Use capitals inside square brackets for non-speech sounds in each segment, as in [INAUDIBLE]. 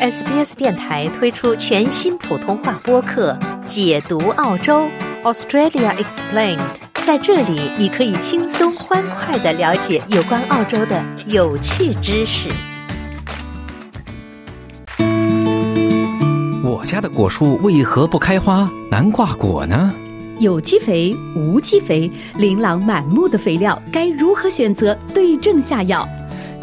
SBS 电台推出全新普通话播客《解读澳洲 Australia Explained》，在这里你可以轻松欢快的了解有关澳洲的有趣知识。我家的果树为何不开花南瓜果呢？有机肥、无机肥，琳琅满目的肥料该如何选择，对症下药？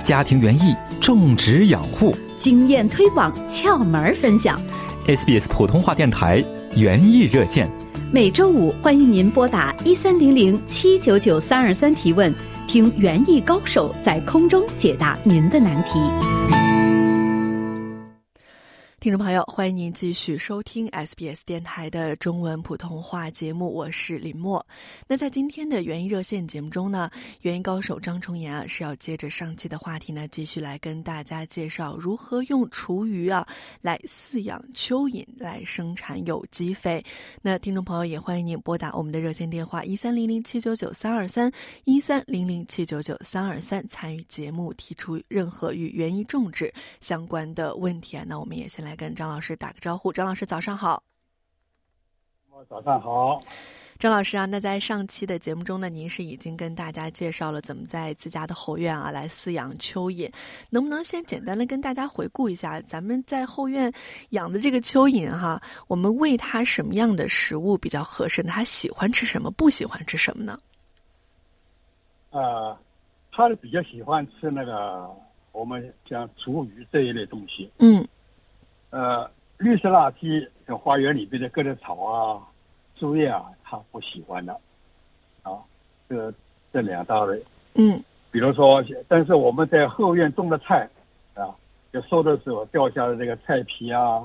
家庭园艺种植养护经验推广窍门分享， ，SBS 普通话电台园艺热线。每周五欢迎您拨打一三零零七九九三二三提问，听园艺高手在空中解答您的难题。听众朋友，欢迎您继续收听 SBS 电台的中文普通话节目，我是林默。那在今天的园艺热线节目中呢，园艺高手张崇岩啊是要接着上期的话题呢，继续来跟大家介绍如何用厨余啊来饲养蚯蚓，来生产有机肥。那听众朋友也欢迎您拨打我们的热线电话一三零零七九九三二三一三零零七九九三二三，参与节目，提出任何与园艺种植相关的问题啊。那我们也先来跟张老师打个招呼，张老师早上好。哦早上好，张老师啊，那在上期的节目中呢，您是已经跟大家介绍了怎么在自家的后院啊来饲养蚯蚓，能不能先简单的跟大家回顾一下咱们在后院养的这个蚯蚓哈、我们喂它什么样的食物比较合适呢？它喜欢吃什么，不喜欢吃什么呢？呃，他是比较喜欢吃那个我们像竹鱼这一类东西，嗯呃，绿色垃圾、像花园里边的各种草啊、树叶啊，他不喜欢的，啊，这这两大类。嗯比如说，但是我们在后院种的菜，啊，有收的时候掉下的这个菜皮啊，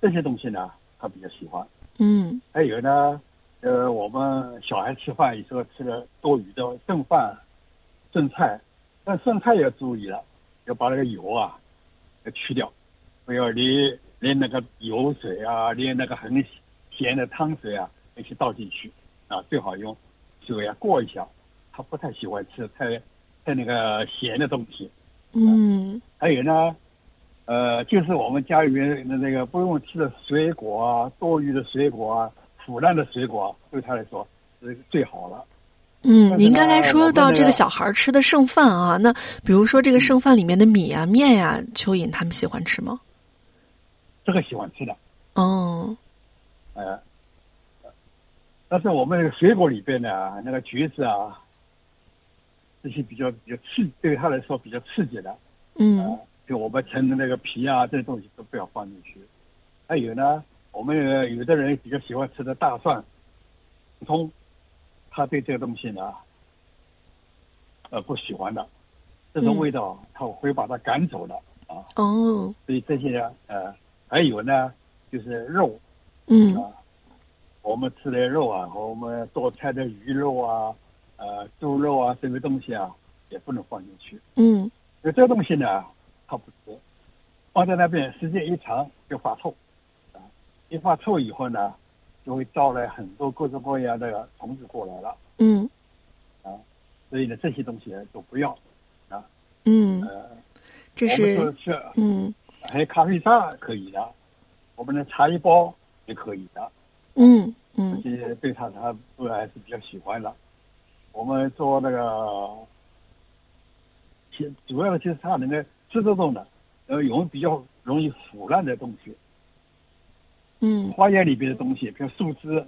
这些东西呢，他比较喜欢。嗯还有呢，呃，我们小孩吃饭有时候吃了多余的剩饭、剩菜，但剩菜要注意了，要把那个油啊要去掉，不要连连那个油水啊，连那个很咸的汤水啊一起倒进去啊，最好用手呀过一下，他不太喜欢吃太太那个咸的东西。嗯还有呢，呃，就是我们家里面的那个不用吃的水果啊，多余的水果啊，腐烂的水果啊，对他来说是最好了。嗯，那您个刚才说到我们这这个个小孩吃的剩饭啊，那比如说这个剩饭里面的米啊、面呀、蚯蚓他们喜欢吃吗？这个喜欢吃的，嗯呃，但是我们那个水果里边呢，那个橘子啊，这些比较比较刺，对他来说比较刺激的，嗯就我们橙的那个皮啊，这些东西都不要放进去。还有呢，我们有有的人比较喜欢吃的大蒜、葱，他对这个东西呢，呃，不喜欢的，这种味道他会把它赶走的。哦所以这些呢，呃，还有呢，就是肉，嗯我们吃的肉啊，和我们做菜的鱼肉啊，呃，猪肉啊，这些东西啊，也不能放进去。嗯那这个东西呢，它不吃，放在那边时间一长就发臭，啊，一发臭以后呢，就会招来很多各种各样的虫子过来了，嗯所以呢，这些东西都不要。嗯，呃，这我们是就是嗯还有咖啡渣可以的，我们的茶叶包也可以的，嗯这嗯些对它它都还是比较喜欢的。我们做那个，其主要的就是它能够吃得动的，呃，有比较容易腐烂的东西。嗯花园里边的东西，比如树枝、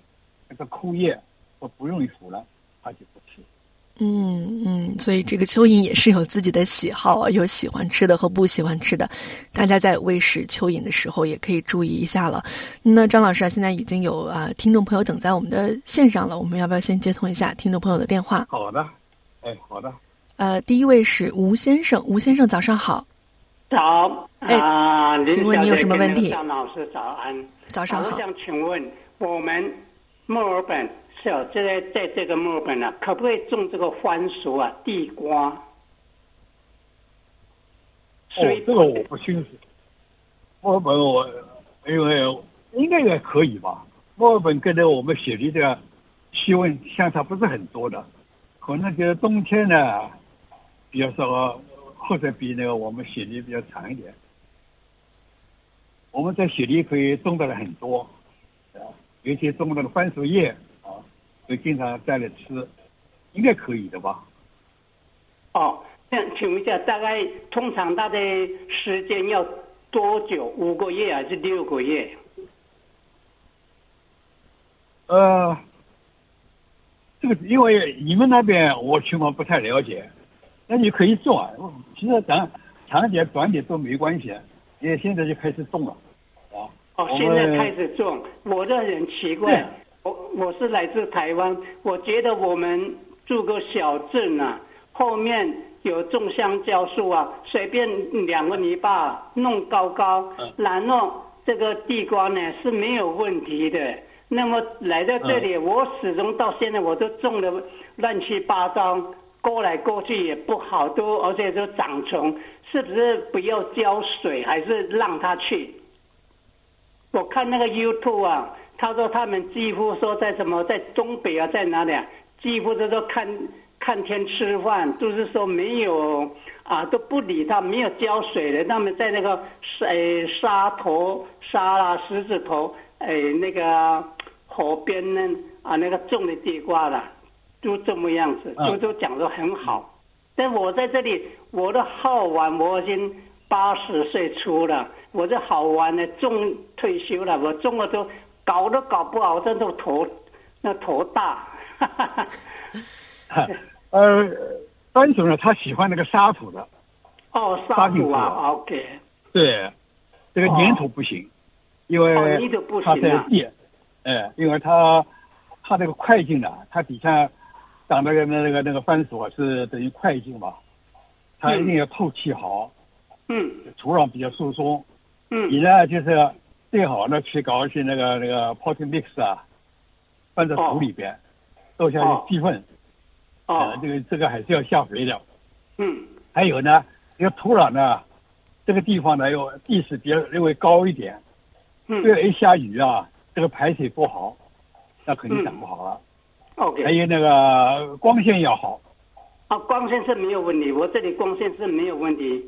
那个枯叶，都不容易腐烂，它就不吃。嗯嗯，所以这个蚯蚓也是有自己的喜好啊，有喜欢吃的和不喜欢吃的。大家在喂食蚯蚓的时候，也可以注意一下了。那张老师啊，现在已经有啊听众朋友等在我们的线上了，我们要不要先接通一下听众朋友的电话？好的，哎，好的，呃，第一位是吴先生，吴先生早上 [LAUGHS] 好，早哎啊，林请问你有什么问题小姐跟那个张老师早安。早上我好。想请问，我们墨尔本是有这个在这个墨尔本呢、啊，可不可以种这个番薯啊、地瓜？哦水，这个我不清楚。墨尔本我，因为呃应该也可以吧。墨尔本跟着我们雪梨这个气温相差不是很多的，可能就是冬天呢比较少，或者比那个我们雪梨比较长一点。我们在雪梨可以种到了很多，啊，尤其种到了番薯叶啊，就经常摘来吃，应该可以的吧？哦，那请问一下，大概通常它的时间要多久？五个月还是六个月？呃，这个因为你们那边我情况不太了解，那你可以种啊。其实咱长点短点都没关系，因为现在就开始种了，啊。哦我，们现在开始种，我这很奇怪对，我我是来自台湾，我觉得我们住个小镇啊，后面有种香蕉树啊，随便两个泥巴弄高高嗯，然后这个地瓜呢是没有问题的。那么来到这里，我始终到现在我都种的乱七八糟，过来过去也不好多，而且都长虫，是不是不要浇水，还是让它去？我看那个 YouTube 啊，他说他们几乎说在什么在东北啊，在哪里啊，几乎都说看看天吃饭，就是说没有啊都不理他，没有浇水的，他们在那个沙、呃、沙头沙啦、石子头，哎、那个河边呢啊那个种的地瓜啦，就这么样子，嗯就都讲得很好。但我在这里，我的好玩，我已经八十岁出了，我这好玩呢，中退休了，我中了都搞都搞不好，这都头那头大。 [LAUGHS] 呃，单纯呢，他喜欢那个沙土的，哦，沙沙地土瓜啊，OK，对，这个粘土不行，因哦为泥土不行它啊在地，哎、因为它它这个块茎呢，它底下长那个那个那个番薯啊，是等于块茎嘛，它一定要透气好，嗯土壤比较疏松。你 [LAUGHS] 嗯，呢，就是最好呢去搞一些那个那个 potting mix 啊，放在土里边，做下哦去鸡粪，呃哦这，个这个还是要下肥料。嗯还有呢，这个土壤呢，这个地方呢要地势比较略微高一点，这嗯个一下雨啊，这个排水不好，那肯定长不好嗯了。还，OK，有那个光线要好，啊，光线是没有问题，我这里光线是没有问题。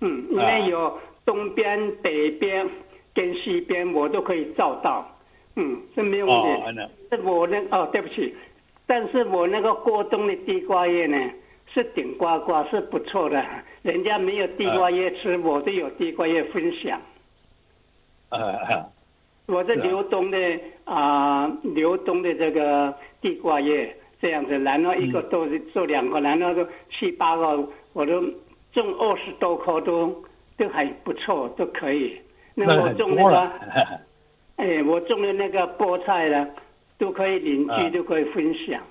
嗯，因啊为有东边、北边跟西边，我都可以照到。嗯，是没有问题。哦那是我那哦，对不起，但是我那个过冬的地瓜叶呢，是顶呱呱，是不错的。人家没有地瓜叶吃，我都有地瓜叶分享。呃，我这是啊流冬的啊、流冬的这个地瓜叶这样子，然后一个豆子做两个，然后都七八个，我都种二十多棵都都还不错，都可以。那那我很种那多个了。 [LAUGHS] 哎，我种的那个菠菜呢，都可以邻居啊都可以分享。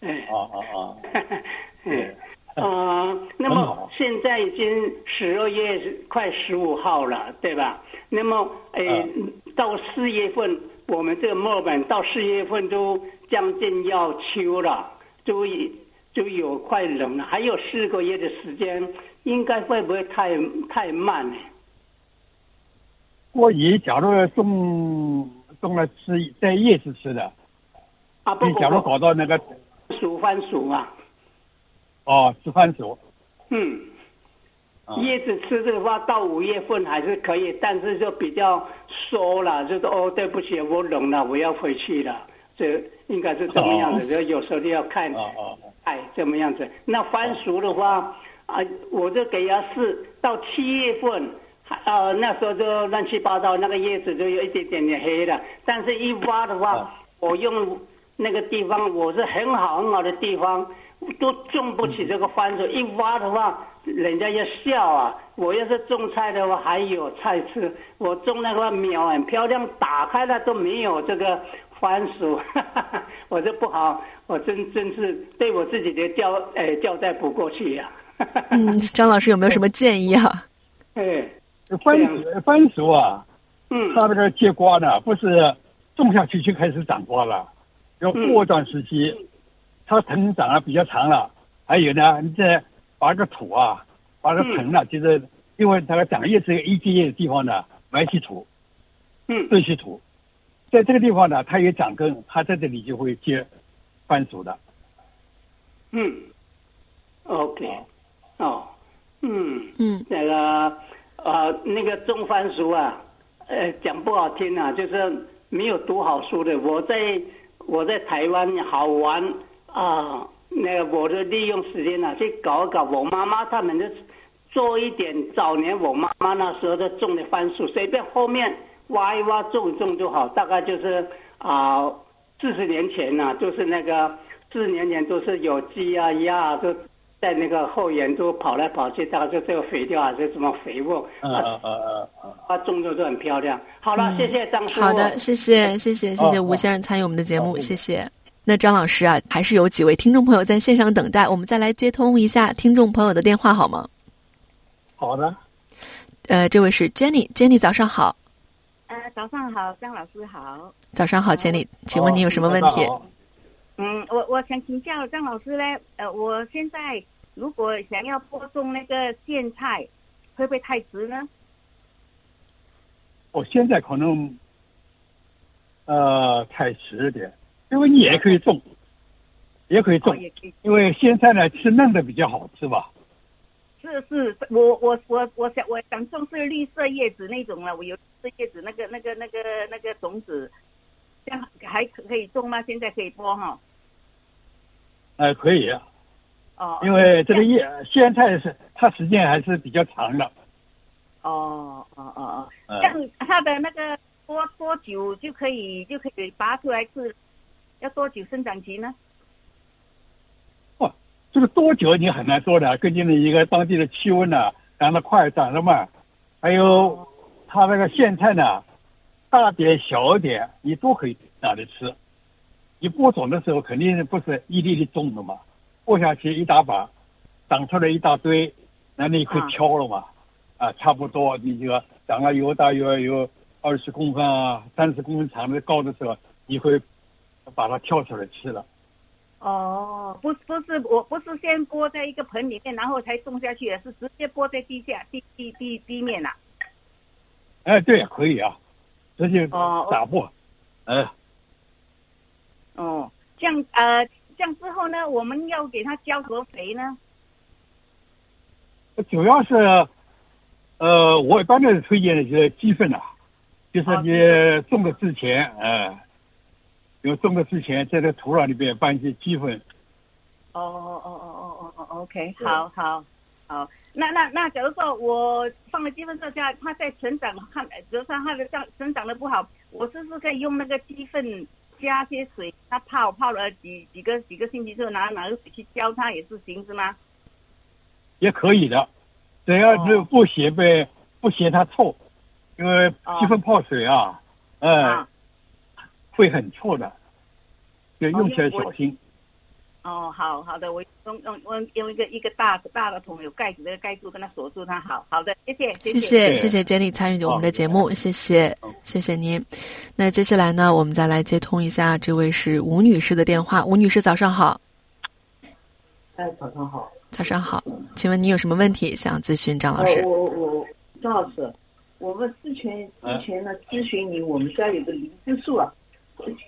哎，啊啊啊！哎对，啊，那很么好现在已经十二月快十五号了，对吧？那么，哎啊，到四月份，我们这个墨尔本到四月份都将近要秋了，就已就有快冷了，还有四个月的时间，应该会不会太太慢呢？过你假如种种了吃摘叶子吃的，啊，不你假如不搞到那个不，数番薯啊，哦吃番薯，嗯。啊叶子吃的话，到五月份还是可以，但是就比较缩了，就是哦，对不起，我冷了，我要回去了，这应该是这么样子。就有时候就要看啊，啊哎，这么样子。那番薯的话，啊，我就给它试到七月份，呃，那时候就乱七八糟，那个叶子就有一点点的黑了。但是一挖的话啊，我用那个地方，我是很好很好的地方，都种不起这个番薯。一挖的话，人家要笑啊。我要是种菜的话，还有菜吃。我种那个苗很漂亮，打开了都没有这个番薯， [LAUGHS] 我这不好，我真真是对我自己的交哎交代不过去啊呀、嗯，张老师有没有什么建议啊？哎，这哦番薯番薯啊，嗯，它那个结瓜呢，不是种下去就开始长瓜了，要过段时期，它成长啊比较长了。还有呢，你再把这个土啊，把这个藤呢，就是因为它长叶子一节叶的地方呢，埋起土，嗯堆起土，在这个地方呢，它有长根，它在这里就会结番薯的。嗯，OK，哦，嗯，嗯那个呃，那个种番薯啊，呃，讲不好听啊，就是没有读好书的。我在我在台湾好玩啊，那个我就利用时间啊去搞一搞我妈妈他们的，做一点早年我妈妈那时候的种的番薯，随便后面挖一挖种一种就好。大概就是啊，四十年前呐、就是那个四十年前都是有鸡啊鸭啊都。在那个后园都跑来跑去，大概就这个肥料啊，这什么肥沃嗯啊，嗯嗯嗯它种的都很漂亮。好了，谢谢张嗯叔。好的，谢哎谢谢谢谢谢哦吴先生参与我们的节目，哦谢谢。那张老师啊，还是有几位听众朋友在线上等待，我们再来接通一下听众朋友的电话好吗？好的，呃，这位是 Jenny，Jenny 早上好，呃，早上好，张老师好。呃哦早上好，Jenny，请问好您有什么问题？哦好嗯，我我想请教张老师呢，呃，我现在如果想要播种那个苋菜，会不会太迟呢？我哦现在可能呃太迟一点，因为你也可以种，也可以种哦，，也可以。因为现在呢吃嫩的比较好吃吧。是是，我我我我想我想种是绿色叶子那种了，我有绿色叶子那个那个那个那个种子，这样还可可以种吗？现在可以播哈？呃，可以，哦，因为这个叶苋菜是它时间还是比较长的。哦哦哦哦，嗯这样它的那个多多久就可以就可以拔出来吃？要多久生长期呢？这个多久你很难说的，根据你一个当地的气温呢、长得快长得慢，还有它那个苋菜呢，大点小点你都可以拿来吃。你播种的时候肯定不是一粒粒种的嘛，播下去一大把，长出来一大堆，那你可以啊挑了嘛，啊，差不多你这个长了有大约有二十公分啊、三十公分长的高的时候，你会把它挑出来吃了。哦，不不是，我不是先播在一个盆里面，然后才种下去的，是直接播在地下地地地地面呐、哎，对，可以啊，直接哦打破。哎，哦，这样呃，这样之后呢，我们要给它浇合肥呢？主要是，呃，我一般的推荐的就是鸡粪啊，就是哦鸡你种的之前，哎、有种的之前，在这土壤里边拌一些鸡粪。哦哦哦哦哦哦，OK，好好好。那那那，假如说我放了鸡粪之下，它在成长，看，比如说它的长成长的不好，我是不是可以用那个鸡粪加些水，它泡泡了几几个几个星期之后，拿拿个水去浇它也是行是吗？也可以的，只要是哦不嫌呗，不嫌它臭，因为鸡粪泡水啊，哎、啊。会很臭的，就哦用起来因为小我心。哦，好好的，我用用用用一个一个大大的桶有盖子的盖住，跟它锁住它。好好的，谢谢谢谢谢谢谢谢谢 Jenny 参与我们的好节目，谢谢好谢谢您。那接下来呢，我们再来接通一下这位是吴女士的电话。吴女士早上好，哎，早上好。早上好，请问你有什么问题想咨询张老师呃、？我我张老师，我们之前之前呢咨询你，我们家有个梨子树啊，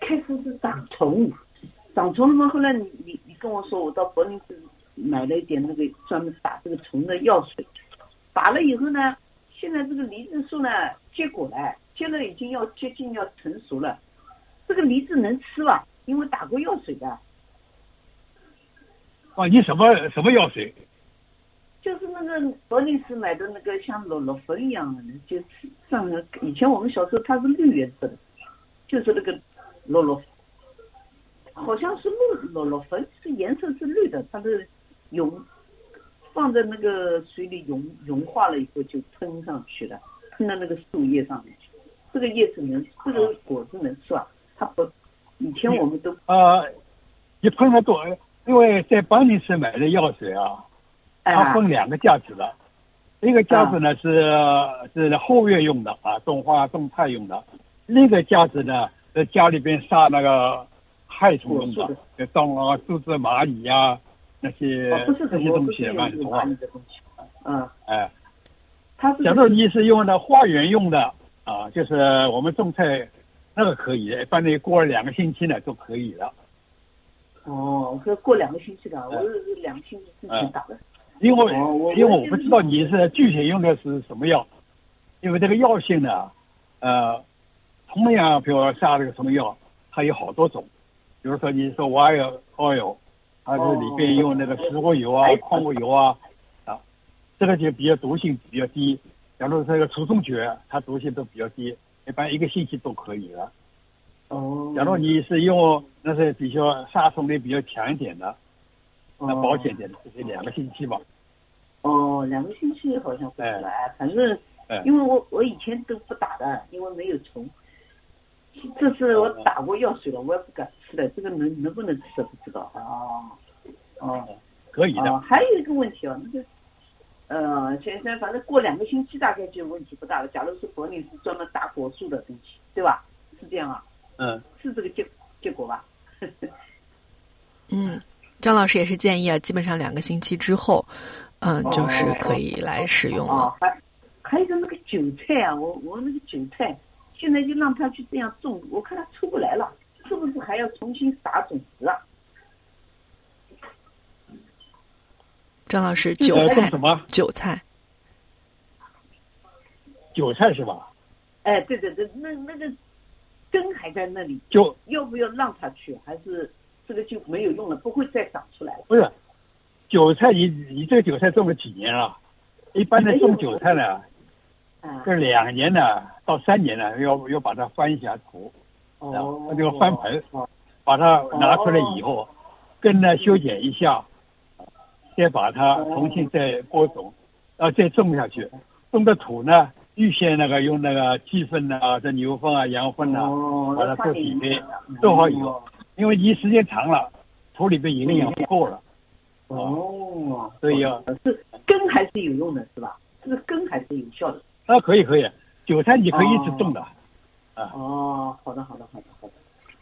开始是长虫，长虫了嘛，后来你你你跟我说，我到柏林去买了一点那个专门打这个虫的药水，打了以后呢，现在这个梨子树呢结果了，结了已经要接近要成熟了，这个梨子能吃吧？因为打过药水的，哦啊，你什么什么药水？就是那个柏林斯买的那个像螺螺粉一样的，就是上个以前我们小时候它是绿颜色的，就是那个螺螺，好像是绿螺螺粉，是颜色是绿的，它是融放在那个水里融融化了以后就喷上去了，喷到那个树叶上面去。这个叶子能，这个果子能吃啊？它不，以前我们都啊，你喷了多，因为在帮你市买的药水啊，它啊分两个架子的，一个架子呢是是后院用的啊，种花种菜用的；另一个架子呢在家里边杀那个害虫用果的树哦的，就蟑螂啊、蜘蛛、蚂蚁呀、那些哦，不是那什些么，东不西是嘛，你用说蚂话蚁的东西，啊嗯，哎。它是假如你是用的花园用的啊，就是我们种菜那个可以，一般的过了两个星期呢就可以了。哦，这过两个星期的，嗯我是是两个星期之前打的。因为、哦我因为我不知道你是具体用的是什么药，因为这个药性呢，呃，同样比如说下这个什么药，它有好多种，比如说你说 oil oil，它是里边用那个植物油哦啊、矿物油啊，啊，这个就比较毒性比较低。假如这个除虫蕨，它毒性都比较低，一般一个星期都可以了。哦假如嗯你是用那些比较杀虫力比较强一点的，那保险点的，就是两个星期吧。哦，两个星期好像回来，哎、反正哎因为我我以前都不打的，因为没有虫。这次我打过药水了，我也不敢吃了，这个能能不能吃不知道啊。哦，可以的。哦，还有一个问题啊，那个，呃，先生，反正过两个星期大概就问题不大了。假如是柏林是专门打果树的东西，对吧？是这样啊，嗯，是这个结结果吧？嗯，张老师也是建议啊，基本上两个星期之后，嗯，就是可以来使用了。哦，还还有一个那个韭菜啊，我我那个韭菜，现在就让他去这样种，我看他出不来了，是不是还要重新撒种子啊？张老师， [LAUGHS] 韭呃，种菜什，么？韭菜，韭菜是吧？哎，对对对，那那个根还在那里，就要不要让他去？还是这个就没有用了，不会再长出来了？不是，韭菜你你这个韭菜种了几年了？一般的种韭菜呢，啊，这两年呢到三年呢，要要把它翻一下土，然后那就翻盆，哦把它拿出来以哦后，根呢修剪一下，再把它重新再播种，啊再种下去，种的土呢预先那个用那个鸡粪啊、这牛粪啊、羊粪啊，哦，把它那做太底厉肥害了，做好以后，因为你时间长了，土里边营养不够了，哦，所以要是根还是有用的，是吧？这个根还是有效的。啊，可以可以，韭菜你可以一直种的。哦，好的，好的，好的，好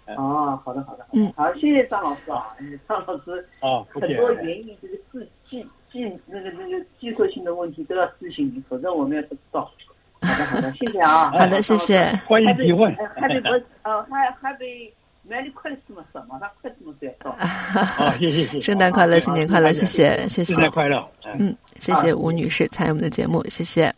哎的。哦，好的，好的，好的嗯好，谢谢张老师啊，嗯张老师啊，不很见多园艺这个技技技那个那个技术性的问题都要咨询你，否则我们也不知道。好 [LAUGHS] 的，好的，谢谢啊。哎好的，谢谢。欢迎提 [LAUGHS] 问。哎还得不呃，还还得 Merry Christmas，马上 Christmas 要到。啊，谢谢谢啊谢，圣诞快乐，新年快乐，哎谢谢，谢谢圣。诞快乐。嗯嗯，谢谢吴女士参与我们的节目，谢谢。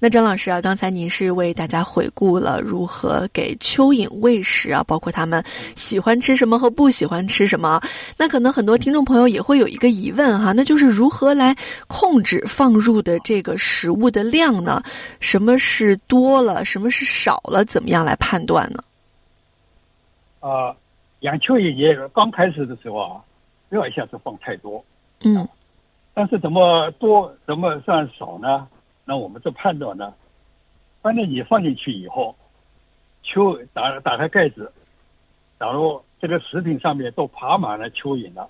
那张老师啊，刚才您是为大家回顾了如何给蚯蚓喂食啊，包括它们喜欢吃什么和不喜欢吃什么。那可能很多听众朋友也会有一个疑问哈、那就是如何来控制放入的这个食物的量呢？什么是多了，什么是少了？怎么样来判断呢？啊，养蚯蚓也刚开始的时候啊，不要一下子放太多，啊嗯但是怎么多怎么算少呢？那我们这判断呢，反正你放进去以后，蚯打打开盖子，假如这个食品上面都爬满了蚯蚓了，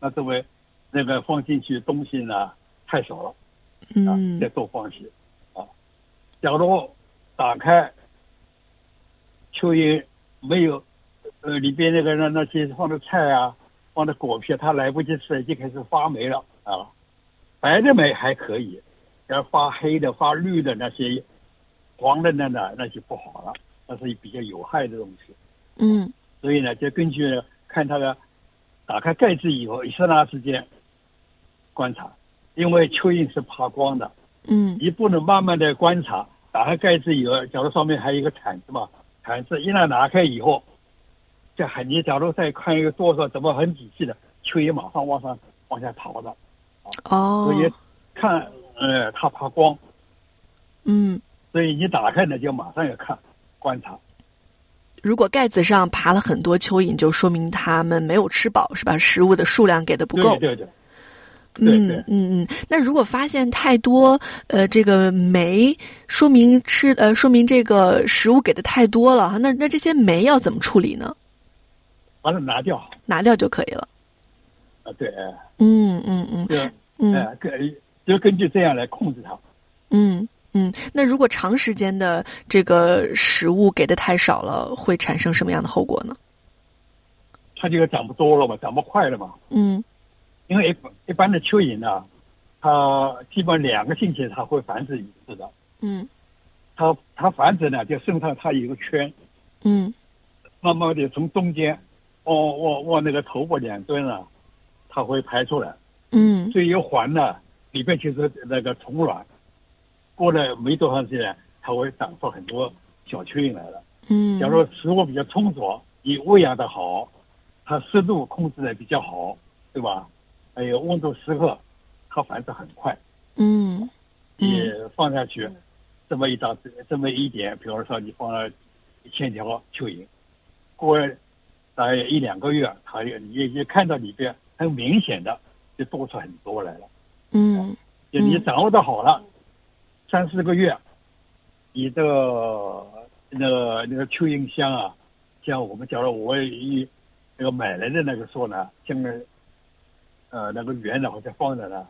那这为那个放进去东西呢太少了。啊嗯，再多放些啊。假如打开蚯蚓没有，呃，里边那个那那些放的菜啊，放的果皮啊，它来不及吃，已经开始发霉了啊。白的霉还可以，要发黑的、发绿的那些，黄的那那那就不好了，那是比较有害的东西。嗯所以呢，就根据看它的打开盖子以后一刹那之间观察，因为蚯蚓是爬光的，嗯一步呢慢慢的观察，打开盖子以后，假如上面还有一个铲子嘛，铲子一旦拿开以后，这很你假如再看一个多少怎么很仔细的，蚯蚓马上往上往下逃的，哦所，以看呃它爬光，嗯。所以你打开呢就马上要看观察，如果盖子上爬了很多蚯蚓，就说明它们没有吃饱，是吧？食物的数量给的不够。对对对，对嗯对嗯嗯。那如果发现太多，呃，这个酶，说明吃呃，说明这个食物给的太多了。那那这些酶要怎么处理呢？把它拿掉拿掉就可以了。啊，对，哎嗯嗯嗯就嗯哎根就根据这样来控制它。嗯嗯。那如果长时间的这个食物给的太少了，会产生什么样的后果呢？它这个长不多了嘛，长不快了嘛。嗯因为一般一般的蚯蚓呢，它基本两个星期它会繁殖一次的。嗯它它繁殖呢，就身上它有个圈，嗯慢慢的从中间，往往往那个头部两端呢，它会排出来。嗯最一环呢，里边就是那个虫卵。过了没多长时间，它会长出很多小蚯蚓来了。嗯，假如说食物比较充足，你喂养的好，它湿度控制的比较好，对吧？还有温度适合，它繁殖很快。嗯你嗯放下去，这么一张，这么一点，比方说你放了一千条蚯蚓，过了大概一两个月，它也也也看到里边很明显的就多出很多来了。嗯就你嗯掌握的好了，三四个月，你这个那个那个蚯蚓箱啊，像我们假如我一那个买来的那个时候呢，像个呃那个圆的，或者放着呢，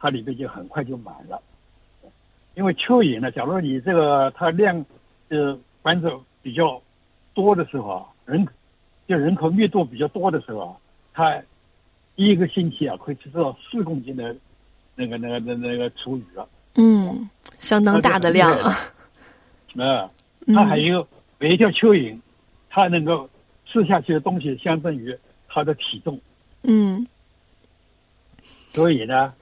它里边就很快就满了。因为蚯蚓呢，假如你这个它量呃繁殖比较多的时候啊，人就人口密度比较多的时候啊，它一个星期啊可以吃到四公斤的那个那个那那个厨余啊，嗯，相当大的量啊。呃，嗯它还有每一条蚯蚓，它能够吃下去的东西相当于它的体重， [LAUGHS] 嗯所以呢，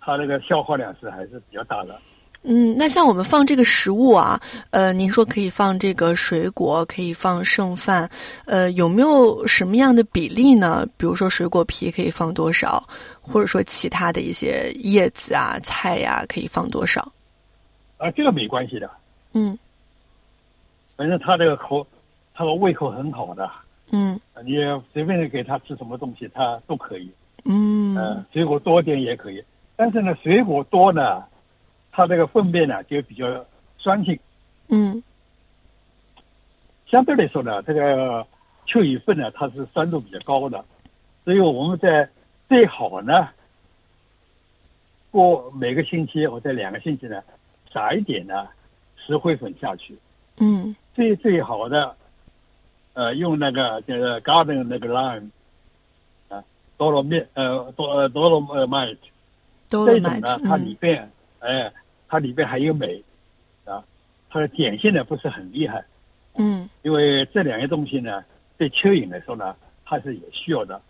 它那个消耗量是还是比较大的。嗯，那像我们放这个食物啊，呃，您说可以放这个水果，可以放剩饭，呃，有没有什么样的比例呢？比如说水果皮可以放多少，或者说其他的一些叶子啊、菜呀、可以放多少？啊，这个没关系的，嗯反正它这个口，它的胃口很好的，嗯你随便给它吃什么东西，它都可以。嗯呃，水果多点也可以，但是呢，水果多呢，它这个粪便呢就比较酸性，嗯相对来说呢，这个蚯蚓粪呢，它是酸度比较高的，所以我们在最好呢，过每个星期或者两个星期呢，撒一点呢石灰粉下去。嗯最最好的，呃，用那个就是 garden 那个 lime，啊，多罗蜜呃多多罗呃 m i t 都这能种买。呢，它里嗯边哎，它里边还有镁，啊，它的碱性呢不是很厉害。嗯因为这两样东西呢，对蚯蚓来说呢，它是有需要的。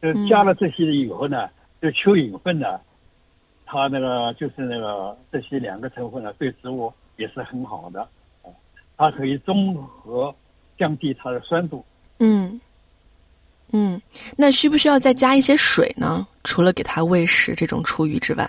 就是嗯加了这些以后呢，这蚯蚓粪呢，它那个就是那个这些两个成分呢，对植物也是很好的，啊它可以综合降低它的酸度。嗯嗯，那需不需要再加一些水呢？除了给它喂食这种厨余之外，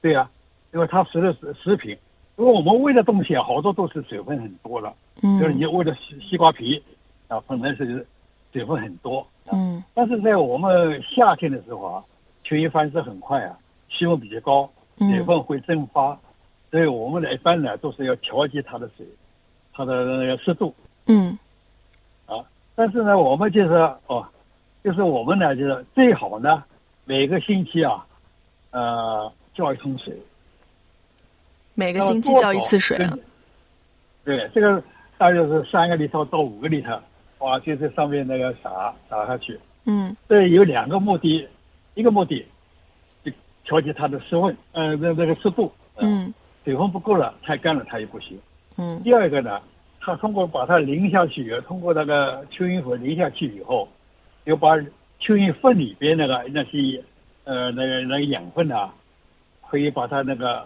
对呀、因为它食的食食品，因为我们喂的东西啊，好多都是水分很多的，嗯就是你喂的西西瓜皮啊，本来是水分很多，啊嗯但是在我们夏天的时候啊，蚯蚓繁殖很快啊，气温比较高，嗯水分会蒸发，所以我们呢一般呢都是要调节它的水，它的那个湿度嗯啊。但是呢，我们就是哦，就是我们呢就是最好呢每个星期啊，呃浇一桶水，每每个星期浇一次水啊。对，这个大约是三个 liter 到五个 liter，哇，就在上面那个撒撒下去。嗯这有两个目的，一个目的就调节它的湿温，呃，那那个湿度，呃，嗯水分不够了，太干了它也不行。嗯第二个呢，它通过把它淋下去，通过那个蚯蚓粉淋下去以后，又把蚯蚓粪里边那个那些呃那个那个养分啊，可以把它那个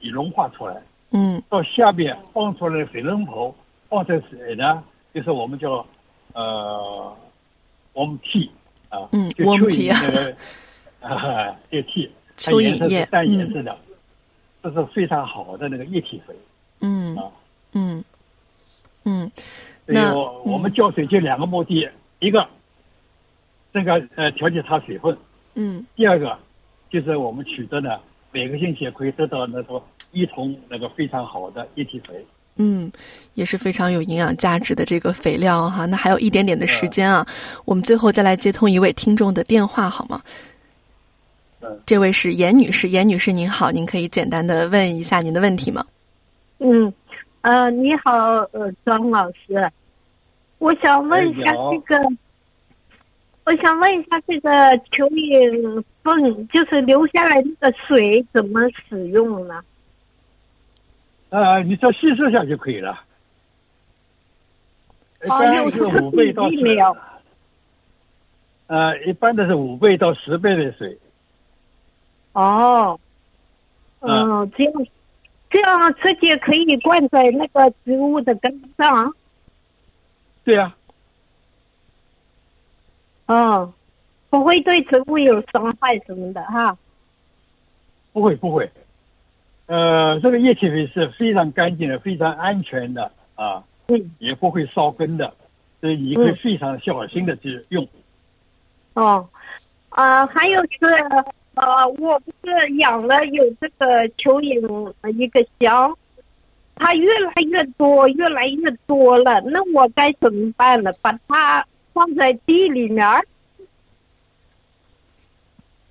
融化出来，嗯到下面放出来水龙头，放出来水呢，就是我们叫呃，我们 T 啊，嗯就我们蚯剃蚓那个 [LAUGHS] 啊，这个 T，它蚯蚓颜色液是淡颜嗯色的，这是非常好的那个液体肥。嗯嗯嗯所以那嗯我我们浇水就两个目的，一个这个呃调节它水分，嗯第二个就是我们取得呢每个星期可以得到那个一桶那个非常好的液体肥。嗯，也是非常有营养价值的这个肥料哈。那还有一点点的时间啊，我们最后再来接通一位听众的电话好吗？嗯，这位是严女士，严女士您好，您可以简单的问一下您的问题吗？嗯，呃，你好，呃，庄老师，我想问一下哎你好这个，我想问一下这个蚯蚓粪，就是留下来那个水怎么使用呢？啊，你只稀释下就可以了。一哦般有是这个五倍到比例十没有，呃，一般都是五倍到十倍的水。哦，嗯嗯，这样，这样直接可以灌在那个植物的根上。对啊呀、哦嗯，不会对植物有伤害什么的哈。不会不会。呃，这个液体肥是非常干净的，非常安全的啊，嗯，也不会烧根的，所以你会嗯非常小心的去用。哦，啊、还有是呃，我不是养了有这个蚯蚓呃一个箱，它越来越多，越来越多了，那我该怎么办呢？把它放在地里面儿？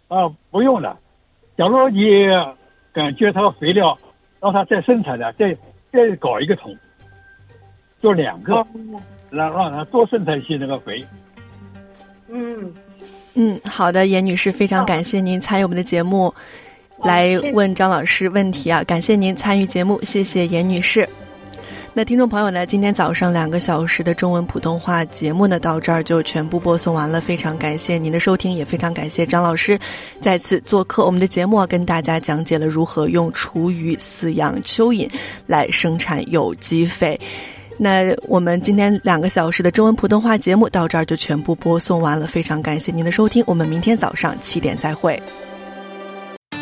啊，不用了。假如你感觉它肥料，让它再生产的，再再搞一个桶，做两个，让让它多生产一些那个肥。嗯，嗯，好的，严女士，非常感谢您参与我们的节目，来问张老师问题啊！感谢您参与节目，谢谢严女士。那听众朋友呢，今天早上两个小时的中文普通话节目呢，到这儿就全部播送完了。非常感谢您的收听，也非常感谢张老师再次做客我们的节目啊，跟大家讲解了如何用厨余饲养蚯蚓来生产有机肥。那我们今天两个小时的中文普通话节目到这儿就全部播送完了，非常感谢您的收听，我们明天早上七点再会。